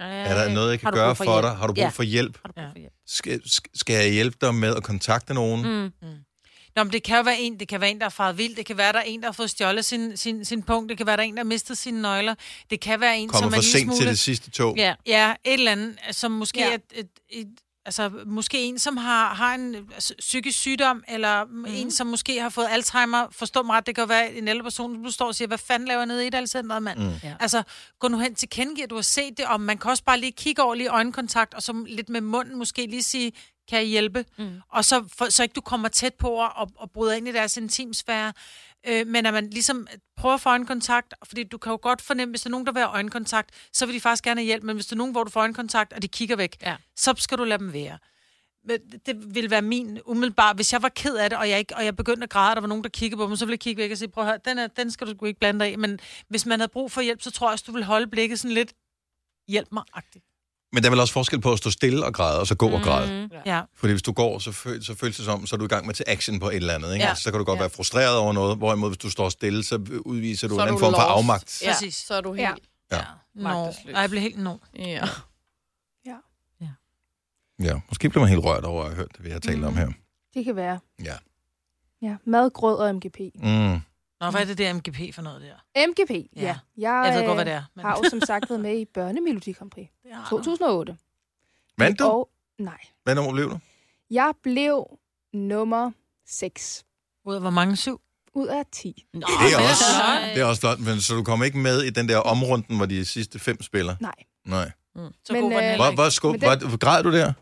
[SPEAKER 3] Ja,
[SPEAKER 1] Er der noget, jeg
[SPEAKER 3] Øh, Har
[SPEAKER 1] kan
[SPEAKER 3] du
[SPEAKER 1] gøre
[SPEAKER 3] brug
[SPEAKER 1] for,
[SPEAKER 3] for
[SPEAKER 1] for
[SPEAKER 3] hjælp?
[SPEAKER 1] dig? Har du brug
[SPEAKER 3] Ja.
[SPEAKER 1] for hjælp?
[SPEAKER 3] Har du brug for hjælp?
[SPEAKER 1] Skal, sk- skal jeg hjælpe dig med at kontakte nogen? Mm.
[SPEAKER 3] Mm.
[SPEAKER 4] Nå, men det kan jo være en, det kan være en, der er faret vild, det kan være, der er en, der har fået stjålet sin, sin, sin punkt, det kan være, der er en, der har mistet sine nøgler, det kan være en,
[SPEAKER 1] Kommer
[SPEAKER 4] som er
[SPEAKER 1] for
[SPEAKER 4] en lille
[SPEAKER 1] sent
[SPEAKER 4] smule...
[SPEAKER 1] til det sidste tog?
[SPEAKER 3] Ja.
[SPEAKER 4] Ja, et eller andet, som måske
[SPEAKER 3] Ja.
[SPEAKER 4] ja. er et, et, altså, måske en, som har, har en øh, altså, psykisk sygdom, eller mm. en, som måske har fået Alzheimer. Forstå mig ret, det kan jo være en ældre person, du står og siger, hvad fanden laver jeg nede i Idalcenteret, mand? Mm.
[SPEAKER 3] Ja.
[SPEAKER 4] Ja. Altså, gå nu hen til kendegiver, at du har set det, og man kan også bare lige kigge over lige øjenkontakt, og så lidt med munden måske lige sige, kan jeg hjælpe? Mm. Og så, for, så ikke du kommer tæt på og, og, og bryder ind i deres intimsfære. Øh, men at man ligesom prøver at få øjenkontakt, fordi du kan jo godt fornemme, hvis der er nogen, der vil have øjenkontakt, så vil de faktisk gerne have hjælp, men hvis der er nogen, hvor du får øjenkontakt, og de kigger væk,
[SPEAKER 3] Ja.
[SPEAKER 4] så skal du lade dem være. Men Det vil være min umiddelbare. Hvis jeg var ked af det, og jeg, ikke, og jeg begyndte at græde, og der var nogen, der kiggede på mig, så ville jeg kigge væk og sige, prøv at høre, den, er, den skal du sgu ikke blande dig i. Men hvis man havde brug for hjælp, så tror jeg også, du ville holde blikket sådan lidt, hjælp mig -agtigt.
[SPEAKER 1] Men der er vel også forskel på at stå stille og græde, og så gå og græde.
[SPEAKER 3] Mm.
[SPEAKER 4] Ja.
[SPEAKER 1] Fordi hvis du går, så, føl, så føles det som, så er du i gang med til action på et eller andet. Ikke?
[SPEAKER 5] Ja.
[SPEAKER 1] Ja. Så kan du godt ja.
[SPEAKER 5] Ja.
[SPEAKER 1] være frustreret over noget, hvorimod hvis du står stille, så udviser du så en
[SPEAKER 5] er
[SPEAKER 1] anden form for
[SPEAKER 5] lost.
[SPEAKER 1] afmagt.
[SPEAKER 5] Ja,
[SPEAKER 4] Præcis.
[SPEAKER 5] så er du
[SPEAKER 2] Ja. Mm.
[SPEAKER 5] helt...
[SPEAKER 1] Ja.
[SPEAKER 4] Nå.
[SPEAKER 5] Magtesløs.
[SPEAKER 4] Ej, jeg blev helt nå.
[SPEAKER 5] Ja. ja.
[SPEAKER 1] Ja, måske bliver man helt rørt over at have hørt det, vi har talt mm. om her.
[SPEAKER 2] Det kan være.
[SPEAKER 1] Ja.
[SPEAKER 2] Ja, mad, grød og MGP.
[SPEAKER 1] Mm.
[SPEAKER 4] Nå, hvad er det der MGP for noget der?
[SPEAKER 2] MGP, ja.
[SPEAKER 4] Ja.
[SPEAKER 2] ja. Jeg,
[SPEAKER 4] Jeg ved godt,
[SPEAKER 2] øh,
[SPEAKER 4] hvad det er. Men... Ah.
[SPEAKER 2] har jo som sagt været med i Børnemelodi Grand Prix
[SPEAKER 4] Det har du.
[SPEAKER 2] 2008.
[SPEAKER 1] Vandt du?
[SPEAKER 2] Og, nej,
[SPEAKER 1] Hvad nummer blev du?
[SPEAKER 2] jeg blev nummer 6
[SPEAKER 4] Ud af hvor mange? Syv?
[SPEAKER 2] ud af 10.
[SPEAKER 3] Nå,
[SPEAKER 1] Det er
[SPEAKER 4] Åh,
[SPEAKER 1] også,
[SPEAKER 4] flot.
[SPEAKER 1] det er også flot, men så du kom ikke med i den der omrunden, hvor de sidste fem spiller?
[SPEAKER 2] Nej.
[SPEAKER 1] Nej.
[SPEAKER 4] Så
[SPEAKER 2] Men,
[SPEAKER 4] god var den
[SPEAKER 2] øh,
[SPEAKER 4] heller
[SPEAKER 1] Hvor,
[SPEAKER 4] ikke.
[SPEAKER 1] hvor, sko-
[SPEAKER 2] Men
[SPEAKER 1] hvor,
[SPEAKER 2] den-
[SPEAKER 1] hvor græd du der?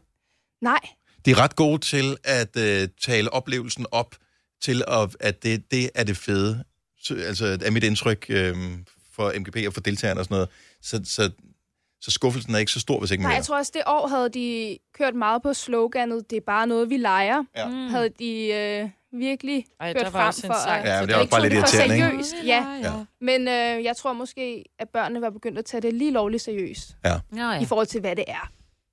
[SPEAKER 2] Nej,
[SPEAKER 1] De er ret gode til at øh, tale oplevelsen op, til at, at det, det er det fede. Så, altså, er mit indtryk øh, for MGP og for deltagerne og sådan noget. Så, så, så skuffelsen er ikke så stor, hvis ikke man
[SPEAKER 2] nej,
[SPEAKER 1] Nej,
[SPEAKER 2] jeg tror også, det år havde de kørt meget på sloganet, det er bare noget, vi leger.
[SPEAKER 1] Ja.
[SPEAKER 2] Mm. Havde de øh, virkelig
[SPEAKER 5] Ej,
[SPEAKER 2] kørt
[SPEAKER 5] der var
[SPEAKER 2] frem
[SPEAKER 5] også en
[SPEAKER 2] for
[SPEAKER 5] sang.
[SPEAKER 2] at...
[SPEAKER 1] Ja, men det
[SPEAKER 2] er
[SPEAKER 1] er også bare lidt
[SPEAKER 2] det for
[SPEAKER 1] irriterende, ikke?
[SPEAKER 2] seriøst. Ja,
[SPEAKER 1] Ja.
[SPEAKER 2] men øh, jeg tror måske, at børnene var begyndt at tage det lige lovligt seriøst,
[SPEAKER 3] Nå, ja.
[SPEAKER 2] i forhold til, hvad det er.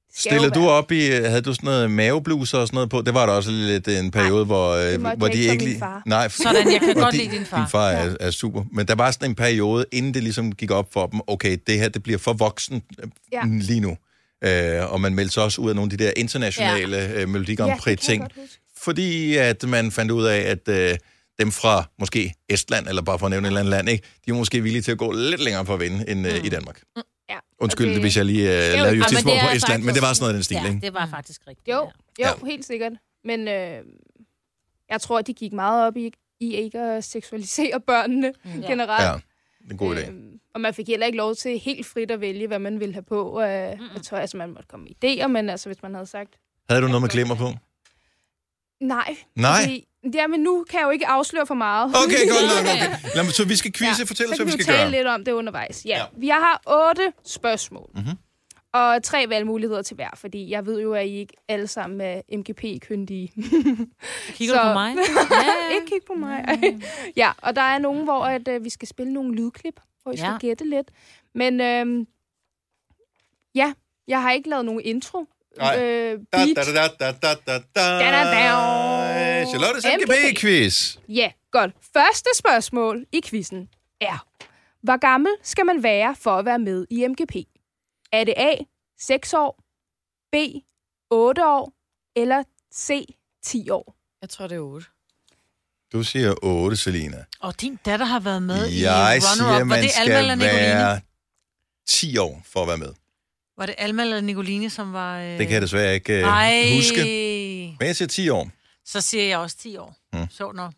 [SPEAKER 2] Det skal jo
[SPEAKER 1] Stillede du
[SPEAKER 2] være-
[SPEAKER 1] op i, øh, havde du sådan noget mavebluser og sådan noget på? Det var der også lidt øh, en periode, hvor,
[SPEAKER 2] det måtte
[SPEAKER 1] øh, hvor
[SPEAKER 2] jeg
[SPEAKER 1] de
[SPEAKER 2] ikke som
[SPEAKER 1] ikke
[SPEAKER 2] min
[SPEAKER 1] lige...
[SPEAKER 2] far.
[SPEAKER 1] Nej, for-
[SPEAKER 4] Sådan, jeg kan
[SPEAKER 1] hvor
[SPEAKER 4] godt
[SPEAKER 1] de-
[SPEAKER 4] lide din far.
[SPEAKER 1] Din far er, er super. Men der var sådan en periode, inden det ligesom gik op for dem, okay, det her det bliver for voksen øh,
[SPEAKER 2] Ja.
[SPEAKER 1] lige nu. Øh, og man meldte sig også ud af nogle af de der internationale ja. øh, Melodi Grand
[SPEAKER 2] det kan jeg
[SPEAKER 1] Prix-ting.
[SPEAKER 2] godt huske.
[SPEAKER 1] fordi at man fandt ud af, at øh, dem fra måske Estland, eller bare for at nævne et eller andet land, ikke, de er måske villige til at gå lidt længere for at vinde end øh, i Danmark.
[SPEAKER 2] Ja,
[SPEAKER 1] Undskyld,
[SPEAKER 2] og
[SPEAKER 1] okay. hvis jeg lige øh, lavede
[SPEAKER 3] Ja, men
[SPEAKER 1] justitsmål
[SPEAKER 3] det
[SPEAKER 1] på
[SPEAKER 3] er
[SPEAKER 1] Estland, men det var sådan noget i den stil,
[SPEAKER 3] ja,
[SPEAKER 1] ikke?
[SPEAKER 3] det var faktisk rigtigt.
[SPEAKER 2] Jo,
[SPEAKER 3] ja.
[SPEAKER 2] jo,
[SPEAKER 1] Ja.
[SPEAKER 2] ja. helt sikkert. Men øh, jeg tror, at de gik meget op i, i ikke at seksualisere børnene mm. generelt.
[SPEAKER 1] Ja, det er en god idé.
[SPEAKER 2] Øhm, og man fik heller ikke lov til helt frit at vælge, hvad man ville have på øh, mm. af tøj. Altså, man måtte komme med idéer, men altså, hvis man havde sagt
[SPEAKER 1] Havde du noget med glimmer på?
[SPEAKER 2] nej.
[SPEAKER 1] Nej.
[SPEAKER 2] Fordi, jamen, nu kan jeg jo ikke afsløre for meget.
[SPEAKER 1] Okay, godt nok, okay. Lad mig, så vi skal quizze, ja, fortæl os,
[SPEAKER 2] så
[SPEAKER 1] hvad vi
[SPEAKER 2] kan vi
[SPEAKER 1] skal
[SPEAKER 2] tale
[SPEAKER 1] gøre.
[SPEAKER 2] lidt om det undervejs. Ja.
[SPEAKER 1] Ja.
[SPEAKER 2] ja. Vi har otte spørgsmål.
[SPEAKER 1] Mhm.
[SPEAKER 2] Og tre valgmuligheder til hver, fordi jeg ved jo, at I ikke alle sammen er MGP-kyndige.
[SPEAKER 3] Kigger du
[SPEAKER 2] Så-
[SPEAKER 3] på mig? Ja,
[SPEAKER 2] ikke kigge på mig. ja, og der er nogen, hvor at, øh, vi skal spille nogle lydklip, hvor I skal
[SPEAKER 3] Ja.
[SPEAKER 2] gætte lidt. Men øhm, ja, jeg har ikke lavet nogen intro.
[SPEAKER 1] Nej.
[SPEAKER 2] Øh,
[SPEAKER 1] Da,
[SPEAKER 2] beat.
[SPEAKER 1] da, da, da, da, da, da.
[SPEAKER 2] Da, da, da.
[SPEAKER 1] Charlottes
[SPEAKER 2] MGP.
[SPEAKER 1] MGB-quiz.
[SPEAKER 2] Ja, godt. Første spørgsmål i quizzen er, hvor gammel skal man være for at være med i MGP? Er det A, 6 år, B, 8 år, eller C, 10 år?
[SPEAKER 5] Jeg tror, det er 8.
[SPEAKER 1] Du siger 8, Selina.
[SPEAKER 4] Og din datter har været med i
[SPEAKER 1] Jeg
[SPEAKER 4] Runner
[SPEAKER 1] siger,
[SPEAKER 4] Up. Var
[SPEAKER 1] man
[SPEAKER 4] det Alma
[SPEAKER 1] skal
[SPEAKER 4] eller Nicoline?
[SPEAKER 1] være 10 år for at være med.
[SPEAKER 4] Var det Alma eller Nicoline, som var... Øh...
[SPEAKER 1] Det kan jeg desværre ikke øh,
[SPEAKER 4] Ej.
[SPEAKER 1] huske. Men jeg siger 10 år.
[SPEAKER 4] Så siger jeg også 10 år.
[SPEAKER 1] Mm.
[SPEAKER 4] Mm. Sjovt nok.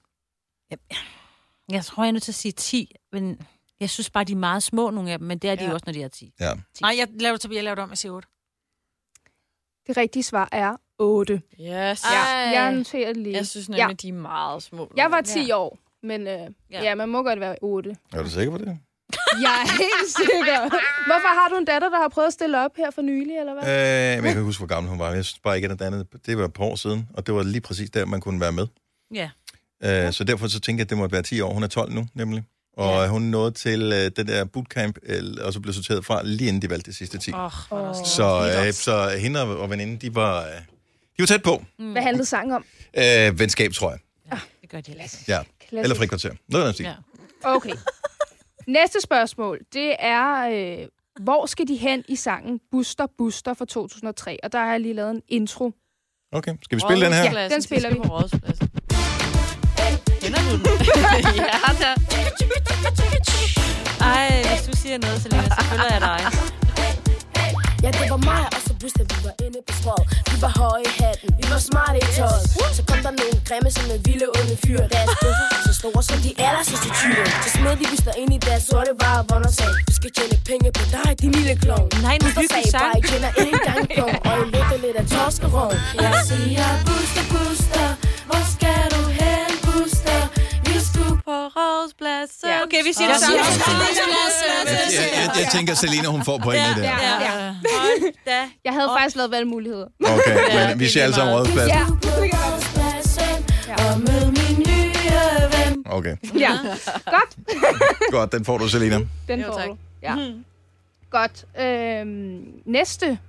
[SPEAKER 3] Jeg tror, jeg er nødt til at sige 10, men jeg synes bare, de er meget små, nogle af dem, men det er de
[SPEAKER 4] Ja.
[SPEAKER 3] ja. også, når de er 10.
[SPEAKER 1] Ja.
[SPEAKER 4] Nej, jeg laver, det- jeg laver det om, jeg siger 8.
[SPEAKER 2] Det rigtige svar er 8.
[SPEAKER 5] Yes.
[SPEAKER 2] Ja,
[SPEAKER 5] Ja.
[SPEAKER 3] Ej.
[SPEAKER 2] jeg noterer det lige.
[SPEAKER 5] Jeg synes nemlig, ja. de er meget små.
[SPEAKER 2] Jeg var
[SPEAKER 5] nu.
[SPEAKER 2] 10 ja. år, men øh, ja. ja, man må godt være 8.
[SPEAKER 1] Er du sikker på det?
[SPEAKER 2] Jeg er helt sikker. Hvorfor har du en datter, der har prøvet at stille op her for nylig, eller hvad?
[SPEAKER 1] Øh, men jeg kan ikke huske, hvor gammel hun var. Jeg synes bare ikke, at det andet. Det var et par år siden, og det var lige præcis der, man kunne være med.
[SPEAKER 3] Ja.
[SPEAKER 1] Øh, så derfor så tænker jeg, at det måtte være 10 år. Hun er 12 nu, nemlig. Og hun nåede til øh, den der bootcamp, øh, og så blev sorteret fra, lige inden de valgte de sidste 10.
[SPEAKER 4] Åh, oh, hvor er det
[SPEAKER 2] Åh.
[SPEAKER 4] også-
[SPEAKER 1] Så, øh, så hende og og veninden, de var, øh, de var tæt på.
[SPEAKER 2] Hvad handlede sangen om?
[SPEAKER 1] Øh, venskab, tror jeg.
[SPEAKER 3] Det gør de heller ikke.
[SPEAKER 1] Ja.
[SPEAKER 2] Klassisk.
[SPEAKER 1] Eller frikvarter. Noget af den ja.
[SPEAKER 3] Ja.
[SPEAKER 2] Okay. Næste spørgsmål, det er, øh, hvor skal de hen i sangen Buster Buster fra 2003? Og der har jeg lige lavet en intro.
[SPEAKER 1] Okay, skal vi spille den her?
[SPEAKER 2] Ja, den spiller vi.
[SPEAKER 5] Rådspladsen.
[SPEAKER 3] Kender du den?
[SPEAKER 5] ja, der.
[SPEAKER 3] Ej, hvis du siger noget, Selina, så følger jeg dig.
[SPEAKER 6] Ja, det var mig, og så Buster, vi var inde på skrål. Vi var høje i hatten, vi var smarte i tøjet. Så kom der nogle grimme som en vilde onde fyr. Deres bøffer var så store som de aller sidste tyre. Så smed de Buster ind i deres sorte varevogn og sagde, du skal tjene penge på dig, din lille klovn.
[SPEAKER 3] Nej, en
[SPEAKER 6] Buster
[SPEAKER 3] hyggelig
[SPEAKER 6] sagde
[SPEAKER 3] sang.
[SPEAKER 6] bare, I kender ikke engang klovn, og I lugter lidt af torskerogn. Jeg siger, Buster, Buster, hvor skal du hen, Buster? Vi skulle på Rådspladsen.
[SPEAKER 2] Ja,
[SPEAKER 3] Okay, vi siger det samme.
[SPEAKER 6] siger
[SPEAKER 1] Jeg, jeg, jeg tænker, Selina, hun får pointet der.
[SPEAKER 2] Ja, ja.
[SPEAKER 3] Hold da.
[SPEAKER 2] Jeg havde faktisk lavet valgmuligheder.
[SPEAKER 1] Okay, men vi siger alle sammen rådplads.
[SPEAKER 2] Ja,
[SPEAKER 6] På Rådspladsen, og mød min nye ven.
[SPEAKER 1] Okay,
[SPEAKER 2] ja. Godt.
[SPEAKER 1] godt, den får du, Selina.
[SPEAKER 2] Den
[SPEAKER 5] Jo,
[SPEAKER 2] får
[SPEAKER 5] tak.
[SPEAKER 2] du. Ja. Godt. Øhm, næste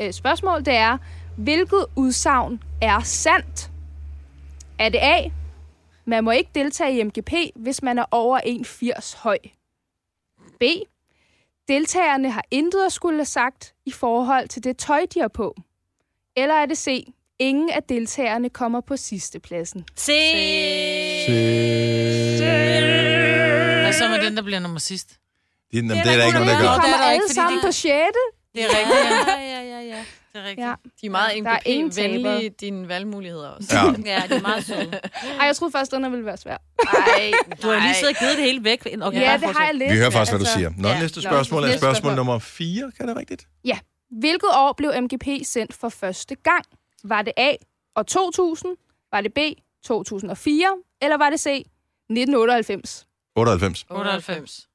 [SPEAKER 2] øh, spørgsmål, det er, hvilket udsagn er sandt? Er det A, man må ikke deltage i MGP, hvis man er over 1,80 høj? B, deltagerne har intet at skulle have sagt i forhold til det tøj, de har på? Eller er det C, ingen af deltagerne kommer på sidste pladsen?
[SPEAKER 3] Se!
[SPEAKER 4] Og så med den, der bliver nummer sidst.
[SPEAKER 1] Det, jamen, det er der ikke nogen, der
[SPEAKER 4] Nå,
[SPEAKER 1] gør.
[SPEAKER 4] det er
[SPEAKER 2] kommer
[SPEAKER 4] der
[SPEAKER 2] alle
[SPEAKER 4] ikke, fordi
[SPEAKER 2] sammen
[SPEAKER 4] det-
[SPEAKER 2] på 6.
[SPEAKER 4] Det er rigtigt. ja.
[SPEAKER 3] Ja, ja, ja, ja.
[SPEAKER 4] Det er rigtigt.
[SPEAKER 2] Ja.
[SPEAKER 5] De er meget
[SPEAKER 2] Der er ingen
[SPEAKER 5] MGP-venlige, dine valgmuligheder også.
[SPEAKER 1] Ja.
[SPEAKER 3] Ja, det er meget sødt.
[SPEAKER 2] Ej, jeg troede først, den her ville være svær.
[SPEAKER 5] Ej,
[SPEAKER 3] Du har lige siddet og givet det hele væk. Okay,
[SPEAKER 2] ja,
[SPEAKER 3] bare
[SPEAKER 2] det har jeg
[SPEAKER 3] fortsæt.
[SPEAKER 2] lidt.
[SPEAKER 1] Vi hører faktisk, hvad du
[SPEAKER 2] Altså,
[SPEAKER 1] siger. Nå,
[SPEAKER 3] ja.
[SPEAKER 1] næste
[SPEAKER 2] Nå,
[SPEAKER 1] spørgsmål er
[SPEAKER 2] næste
[SPEAKER 1] spørgsmål
[SPEAKER 2] spørgsmål.
[SPEAKER 1] nummer 4. Kan det være rigtigt?
[SPEAKER 2] Hvilket år blev MGP sendt for første gang? Var det A og 2000? Var det B 2004? Eller var det C 1998?
[SPEAKER 1] 98.
[SPEAKER 4] 98.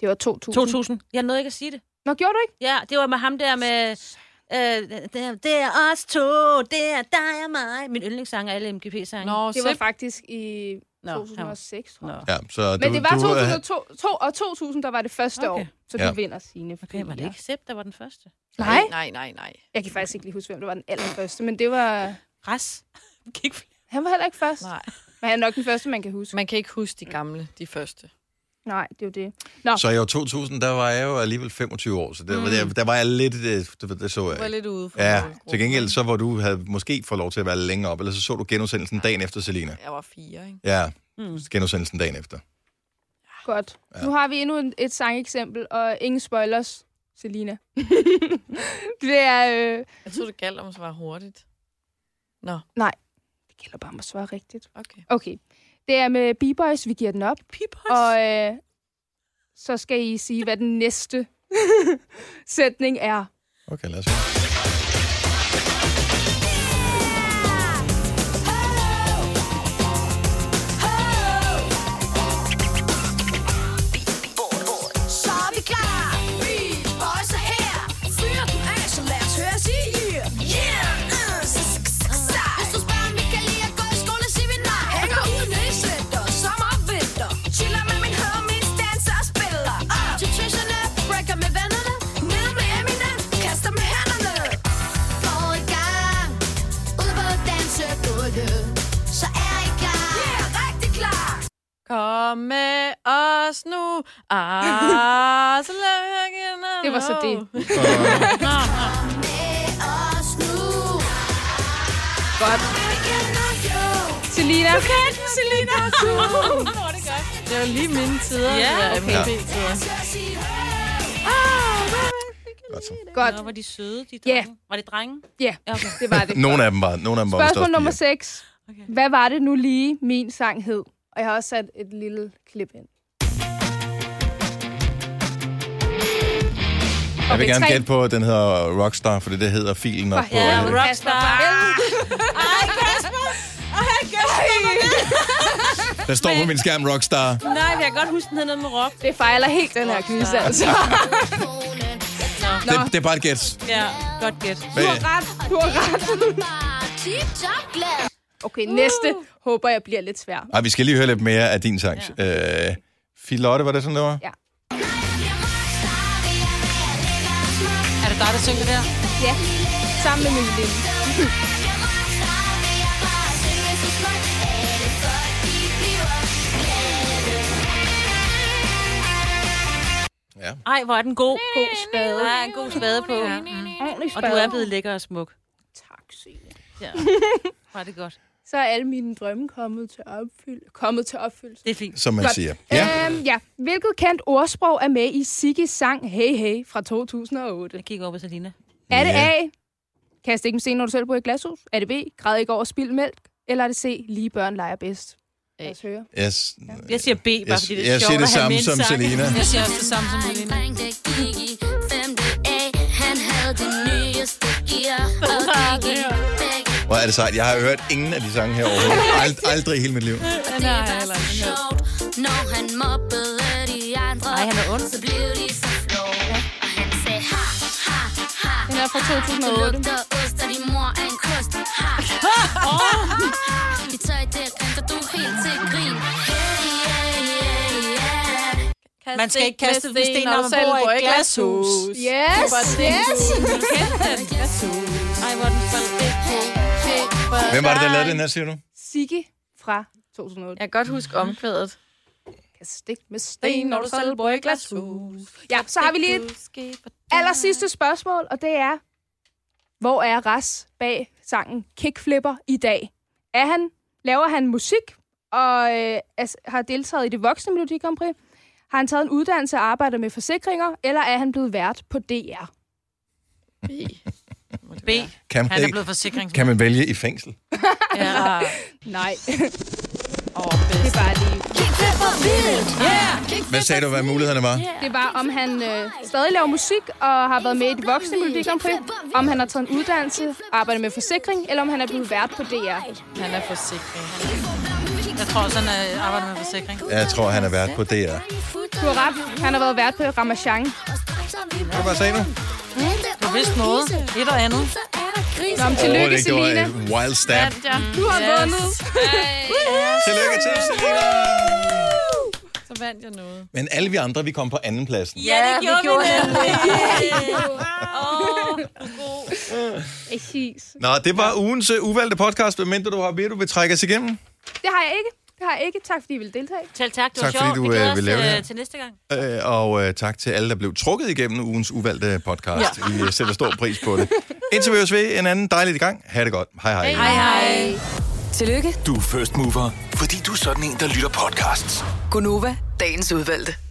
[SPEAKER 2] Det var 2000.
[SPEAKER 3] 2000. Jeg nåede ikke at sige det.
[SPEAKER 2] Nå, gjorde du ikke?
[SPEAKER 3] Ja, det var med ham der med... Øh, det, er, det er os to, det er dig og mig. Min yndlingssang er alle MGP-sange.
[SPEAKER 5] Nå,
[SPEAKER 2] Det var
[SPEAKER 5] så
[SPEAKER 2] faktisk i
[SPEAKER 3] Nå, han-
[SPEAKER 2] 2006, tror jeg.
[SPEAKER 3] Nå.
[SPEAKER 1] Ja, så
[SPEAKER 2] Men
[SPEAKER 1] du,
[SPEAKER 2] det var
[SPEAKER 1] du,
[SPEAKER 2] 2002, to, og 2000, der var det første
[SPEAKER 3] Okay.
[SPEAKER 2] år, så
[SPEAKER 1] Ja.
[SPEAKER 2] du vinder sine
[SPEAKER 3] Okay, var det ikke Sepp, der var den første?
[SPEAKER 2] Nej,
[SPEAKER 5] Nej, nej, nej.
[SPEAKER 2] jeg kan faktisk ikke lige huske, hvem der var den allerførste, men det var...
[SPEAKER 3] Ras. Gik
[SPEAKER 2] Han var heller ikke først,
[SPEAKER 5] nej.
[SPEAKER 2] men han er nok den første, man kan huske.
[SPEAKER 5] Man kan ikke huske de gamle, de første.
[SPEAKER 2] Nej, det er jo det.
[SPEAKER 1] Så i år 2000, der var jeg jo alligevel 25 år, så der, mm. der, der var jeg lidt... Det, det, det så
[SPEAKER 5] Du var
[SPEAKER 1] jeg ikke.
[SPEAKER 5] lidt ude for
[SPEAKER 1] Ja,
[SPEAKER 2] Mm.
[SPEAKER 1] til gengæld så, hvor du havde måske fået lov til at være længere op, eller så så du genudsendelsen dagen efter, Selina.
[SPEAKER 5] Jeg var fire, ikke?
[SPEAKER 1] Ja,
[SPEAKER 3] Mm.
[SPEAKER 1] genudsendelsen dagen efter.
[SPEAKER 2] Godt.
[SPEAKER 1] Ja.
[SPEAKER 2] Ja. Nu har vi endnu en- et sangeksempel, og ingen spoilers, Selina. det er... Øh...
[SPEAKER 5] Jeg troede, det galt om at svare hurtigt. Nå,
[SPEAKER 2] Det gælder bare om at svare rigtigt.
[SPEAKER 5] okay.
[SPEAKER 2] Okay. Det er med B-Boys, vi giver den op.
[SPEAKER 3] Pibers. Og...
[SPEAKER 2] Og øh, så skal I sige, hvad den næste sætning er.
[SPEAKER 1] Okay, lad os
[SPEAKER 7] Så er vi klar. Vi boys er her. Fyr den af, så lad os høre sige yeah. Yeah. Uh, s- s- s- sej. Hvis du spørger, om vi kan lide at gå i skole, siger vi nej. Hænger ud nedsætter, sommer og vinter. Chiller med min homies, danser og spiller. Op til tøserne, breaker med vennerne. Ned med Eminem, kaster med hænderne. For i gang, ud på dansegulvet. Så er I klar. Yeah, rigtig klar.
[SPEAKER 5] Kom med os nu. Ah, så lad vi høre igen.
[SPEAKER 2] Det var så det.
[SPEAKER 7] Med os nu.
[SPEAKER 2] Godt.
[SPEAKER 7] Vi kan nok jo.
[SPEAKER 2] Selina.
[SPEAKER 5] Det var lige mine tider. Ja,
[SPEAKER 1] Ja.
[SPEAKER 5] okay. Ja.
[SPEAKER 1] Godt så.
[SPEAKER 2] Godt.
[SPEAKER 3] Nå, var de søde, de
[SPEAKER 2] Ja.
[SPEAKER 3] drenge. Var det drenge?
[SPEAKER 2] Ja,
[SPEAKER 3] Ja, okay.
[SPEAKER 2] det var det.
[SPEAKER 1] Nogle af dem var, nogle af dem var vist
[SPEAKER 2] Spørgsmål
[SPEAKER 1] også
[SPEAKER 2] nummer
[SPEAKER 1] piger.
[SPEAKER 2] 6.
[SPEAKER 3] Okay.
[SPEAKER 2] Hvad var det nu lige, min sang hed? Og jeg har også sat et lille klip ind.
[SPEAKER 1] Jeg vil
[SPEAKER 2] Okay,
[SPEAKER 1] gerne
[SPEAKER 2] tre.
[SPEAKER 1] gætte på, at den hedder Rockstar, for det hedder filen op på...
[SPEAKER 2] Ja,
[SPEAKER 1] øh,
[SPEAKER 2] Rock-
[SPEAKER 3] Rockstar. Ej, Kasper. Ej, Kasper.
[SPEAKER 1] der står på min skærm Rockstar.
[SPEAKER 3] Nej, men jeg kan godt huske, den hed noget med rock.
[SPEAKER 2] Det fejler helt den her quiz, altså.
[SPEAKER 1] Det, det er bare et gæt.
[SPEAKER 3] Ja, godt gæt.
[SPEAKER 1] Hvad-
[SPEAKER 2] Du har ret.
[SPEAKER 7] Tip-top glad.
[SPEAKER 2] Okay,
[SPEAKER 3] Uh.
[SPEAKER 2] næste håber jeg bliver lidt svær.
[SPEAKER 1] Ej, vi skal lige høre lidt mere af din sang. Ja. Øh, Filotte, var det sådan, det var?
[SPEAKER 2] Ja.
[SPEAKER 4] Er det dig, der synger der?
[SPEAKER 2] Ja, sammen med min veninde.
[SPEAKER 1] ja.
[SPEAKER 3] Ej, hvor er den god.
[SPEAKER 2] God spade.
[SPEAKER 3] Der er en god spade på.
[SPEAKER 2] Ordentlig
[SPEAKER 3] Og
[SPEAKER 2] spade.
[SPEAKER 3] du er blevet lækker og smuk.
[SPEAKER 2] Tak, Signe.
[SPEAKER 3] Ja. Var det godt.
[SPEAKER 2] Så er alle mine drømme kommet til, opfyld... kommet til opfyldelse.
[SPEAKER 3] Det er fint.
[SPEAKER 1] Som man
[SPEAKER 2] Godt.
[SPEAKER 1] siger. Ja.
[SPEAKER 2] Ja. Øhm, ja. Hvilket kendt ordsprog er med i Sigges sang Hey Hey fra 2008?
[SPEAKER 3] Jeg kigger over på Selina.
[SPEAKER 2] Er det
[SPEAKER 1] Ja.
[SPEAKER 2] A? Kast ikke med scenen, når du selv bor i et glashus? Er det B? Græd ikke over spild mælk? Eller er det C? Lige børn leger bedst? Lad os høre.
[SPEAKER 1] Jeg, s-
[SPEAKER 3] Jeg siger B, bare
[SPEAKER 1] jeg,
[SPEAKER 3] fordi det er
[SPEAKER 1] jeg
[SPEAKER 3] sjovt
[SPEAKER 1] siger det
[SPEAKER 3] at have
[SPEAKER 1] samme
[SPEAKER 3] med en
[SPEAKER 1] som
[SPEAKER 3] sang.
[SPEAKER 1] Selina.
[SPEAKER 4] Jeg siger også det samme som Helene.
[SPEAKER 7] dreng, der gik i 5. A. Han havde det nyeste gear og gik i begge.
[SPEAKER 1] Hvor er det sejt. Jeg har hørt ingen af de sange her overhovedet. Ald, aldrig i hele mit liv.
[SPEAKER 7] Og det var så sjovt, når han mobbede de andre.
[SPEAKER 3] Ej, han er ond.
[SPEAKER 7] Så blev de så flove. Og han sagde, ha, ha, ha.
[SPEAKER 2] Den er fra 2008.
[SPEAKER 7] lugter ost, og din mor er en kost. Ha. Dit tøj, det renter du helt til grin. Hey, yeah, yeah, yeah.
[SPEAKER 4] Man skal ikke kaste med sten, når man
[SPEAKER 5] selv
[SPEAKER 4] bor
[SPEAKER 5] bor
[SPEAKER 4] i
[SPEAKER 5] i
[SPEAKER 4] et glashus.
[SPEAKER 2] Yes, yes.
[SPEAKER 4] Ej, hvor er den falsk.
[SPEAKER 1] Hvem var det, der lavede den her, siger du?
[SPEAKER 2] Sigge fra 2008.
[SPEAKER 5] Jeg kan godt huske omkvædet.
[SPEAKER 2] Jeg kan stikke med sten, når du selv bor i glashus. Ja, så har vi lige et aller sidste spørgsmål, og det er, hvor er Ras bag sangen Kickflipper i dag? Er han, laver han musik og øh, er, har deltaget i det voksne Melodi Grand Prix? Har han taget en uddannelse og arbejder med forsikringer, eller er han blevet vært på DR?
[SPEAKER 4] B.
[SPEAKER 1] Kan man,
[SPEAKER 4] Han er
[SPEAKER 1] ikke,
[SPEAKER 4] blevet forsikringsmand.
[SPEAKER 1] kan man vælge i fængsel?
[SPEAKER 4] Ja.
[SPEAKER 2] Nej. det var lige.
[SPEAKER 1] Hvad sagde du, hvad mulighederne var?
[SPEAKER 2] Det var, om han øh, stadig laver musik og har været med i det voksne Melodi Grand Prix, om han har taget en uddannelse, arbejder med forsikring, eller om han er blevet vært på DR.
[SPEAKER 5] Han er forsikring.
[SPEAKER 4] Jeg tror også, han øh, arbejder med forsikring.
[SPEAKER 1] Jeg tror, han er vært på DR.
[SPEAKER 2] Du har ret. Han har været vært på Ramachan.
[SPEAKER 1] Hvad var sagde du?
[SPEAKER 4] Du vidste noget. Et og andet.
[SPEAKER 2] Nå, men tillykke,
[SPEAKER 1] det var
[SPEAKER 2] Selina.
[SPEAKER 1] et wild stab.
[SPEAKER 2] Du har vundet.
[SPEAKER 1] Tillykke til, Selina!
[SPEAKER 5] Så vandt jeg noget.
[SPEAKER 1] Men alle vi andre, vi kom på anden pladsen.
[SPEAKER 3] Ja, det gjorde, vi nemlig.
[SPEAKER 2] Præcis.
[SPEAKER 1] Nå, det var ugens øh, uvalgte podcast. Hvad mindre du har ved, du vil trække os igennem?
[SPEAKER 2] Det har jeg ikke. Det har jeg ikke. Tak, fordi I ville deltage.
[SPEAKER 3] Selv tak, det var
[SPEAKER 1] Tak, fordi du,
[SPEAKER 3] sjovt. Vi glæder
[SPEAKER 1] øh, vil
[SPEAKER 3] os,
[SPEAKER 1] lave det
[SPEAKER 3] øh,
[SPEAKER 1] her.
[SPEAKER 3] Til næste gang.
[SPEAKER 1] Øh, og øh, tak til alle, der blev trukket igennem ugens uvalgte podcast. Ja. Vi øh, sætter stor pris på det. Indtil vi høres ved en anden dejlig gang. Ha' det godt. Hej hej. hej.
[SPEAKER 8] Tillykke,
[SPEAKER 9] Du er first mover, fordi du er sådan en, der lytter podcasts.
[SPEAKER 8] Gunova, dagens udvalgte.